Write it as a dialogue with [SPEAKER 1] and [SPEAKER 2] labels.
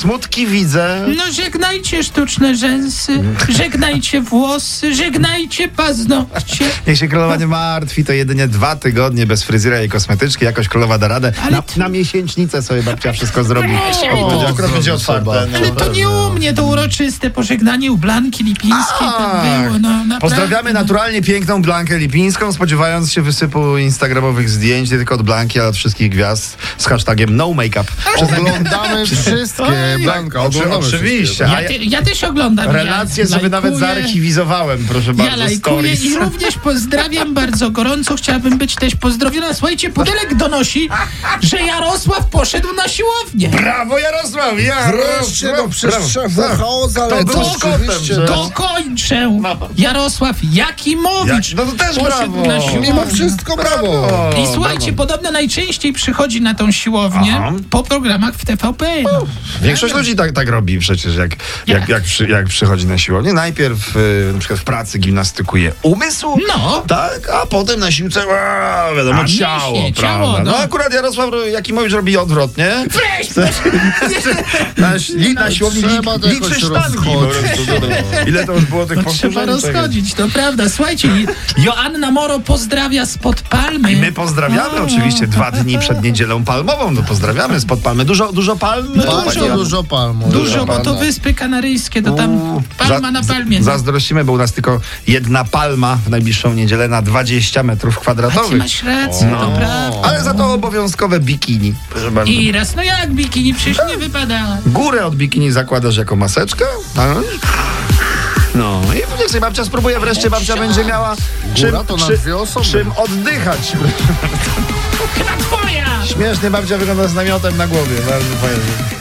[SPEAKER 1] Smutki widzę.
[SPEAKER 2] No żegnajcie sztuczne rzęsy, żegnajcie włosy, żegnajcie paznokcie.
[SPEAKER 1] Niech się królowa nie martwi, to jedynie dwa tygodnie bez fryzjera i kosmetyczki. Jakoś królowa da radę.
[SPEAKER 2] Ale
[SPEAKER 1] Na,
[SPEAKER 2] ty-
[SPEAKER 1] na miesięcznicę sobie babcia wszystko zrobi.
[SPEAKER 2] Proszę,
[SPEAKER 1] O,
[SPEAKER 2] ale to-
[SPEAKER 1] Akurat będzie otwarte.
[SPEAKER 2] Ale to nie u mnie, to uroczyste pożegnanie u Blanki Lipińskiej tam
[SPEAKER 1] Tak.
[SPEAKER 2] było. No, naprawdę.
[SPEAKER 1] Pozdrawiamy naturalnie piękną Blankę Lipińską, spodziewając się wysypu instagramowych zdjęć nie tylko od Blanki, ale od wszystkich gwiazd z hashtagiem no makeup.
[SPEAKER 3] Oglądamy wszystkie,
[SPEAKER 2] Oj.
[SPEAKER 3] Blanka,
[SPEAKER 1] No Oczy-
[SPEAKER 3] oglądamy
[SPEAKER 1] Oczywiście.
[SPEAKER 3] wszystkie.
[SPEAKER 1] A
[SPEAKER 2] Ja,
[SPEAKER 1] ja,
[SPEAKER 2] te, ja też oglądam.
[SPEAKER 1] relacje
[SPEAKER 2] ja
[SPEAKER 1] sobie nawet
[SPEAKER 2] lajkuję.
[SPEAKER 1] zarchiwizowałem, proszę
[SPEAKER 2] Ja
[SPEAKER 1] bardzo.
[SPEAKER 2] lajkuję
[SPEAKER 1] stories.
[SPEAKER 2] i również pozdrawiam bardzo gorąco. Chciałabym być też pozdrowiona. Słuchajcie, Pudelek donosi, że Jarosław poszedł na siłownię.
[SPEAKER 1] Brawo Jarosław! Jarosław!
[SPEAKER 3] Wreszcie do
[SPEAKER 1] brawo.
[SPEAKER 3] przestrzeni chaos,
[SPEAKER 1] To
[SPEAKER 3] ale
[SPEAKER 1] było kotem, że-
[SPEAKER 2] Dokończę! Jarosław Jakimowicz
[SPEAKER 1] Jak- no to też
[SPEAKER 2] poszedł
[SPEAKER 1] brawo.
[SPEAKER 2] na siłownię.
[SPEAKER 3] Mimo wszystko brawo.
[SPEAKER 2] I słuchajcie, podobno najczęściej przychodzi na tą siłownię
[SPEAKER 1] Aha.
[SPEAKER 2] po programach w TVP. No.
[SPEAKER 1] Większość ludzi tak, tak robi przecież, jak, jak, jak, przy, jak przychodzi na siłownię. Najpierw y, na przykład w pracy gimnastykuje umysł,
[SPEAKER 2] No.
[SPEAKER 1] tak, a potem na siłce a, wiadomo,
[SPEAKER 2] A mięśnie,
[SPEAKER 1] ciało,
[SPEAKER 2] ciało,
[SPEAKER 1] prawda? No.
[SPEAKER 2] no.
[SPEAKER 1] akurat Jarosław Jakimowicz robi odwrotnie.
[SPEAKER 2] Weź! no.
[SPEAKER 1] Na, li, na siłowni li,
[SPEAKER 3] No, Trzeba to
[SPEAKER 1] liczy
[SPEAKER 3] jakoś
[SPEAKER 1] sztangi. po prostu. no.
[SPEAKER 3] rozchodzić.
[SPEAKER 1] Ile to już było tych
[SPEAKER 2] To
[SPEAKER 1] powtórzeń?
[SPEAKER 2] No, trzeba
[SPEAKER 1] To jest-
[SPEAKER 2] rozchodzić, to prawda. Słuchajcie, Joanna Moro pozdrawia spod palmy.
[SPEAKER 1] I my
[SPEAKER 2] No.
[SPEAKER 1] pozdrawiamy oczywiście dwa dni przed niedzielą palmową. No pozdrawiamy spod palmy. Dużo, dużo palm.
[SPEAKER 2] No, Dużo,
[SPEAKER 3] Bardzo dużo palm.
[SPEAKER 2] Dużo, bo to
[SPEAKER 3] palm.
[SPEAKER 2] Wyspy Kanaryjskie, to tam
[SPEAKER 1] Uuu,
[SPEAKER 2] palma
[SPEAKER 1] za-
[SPEAKER 2] na palmie. no.
[SPEAKER 1] za- Zazdrościmy, bo u nas tylko jedna palma w najbliższą niedzielę na 20 metrów
[SPEAKER 2] A ty
[SPEAKER 1] kwadratowych.
[SPEAKER 2] masz rację,
[SPEAKER 1] No.
[SPEAKER 2] to prawda.
[SPEAKER 1] Ale za to obowiązkowe bikini. Proszę bardzo.
[SPEAKER 2] I raz, no jak bikini, przecież nie wypada.
[SPEAKER 1] Górę od bikini zakładasz jako maseczkę. a- No i niech sobie babcia spróbuje, wreszcie babcia będzie miała czym,
[SPEAKER 3] to na
[SPEAKER 1] czym,
[SPEAKER 3] dwie osoby.
[SPEAKER 1] czym oddychać.
[SPEAKER 2] Chyba twoja!
[SPEAKER 1] Śmiesznie babcia wygląda z namiotem na głowie. Bardzo fajnie.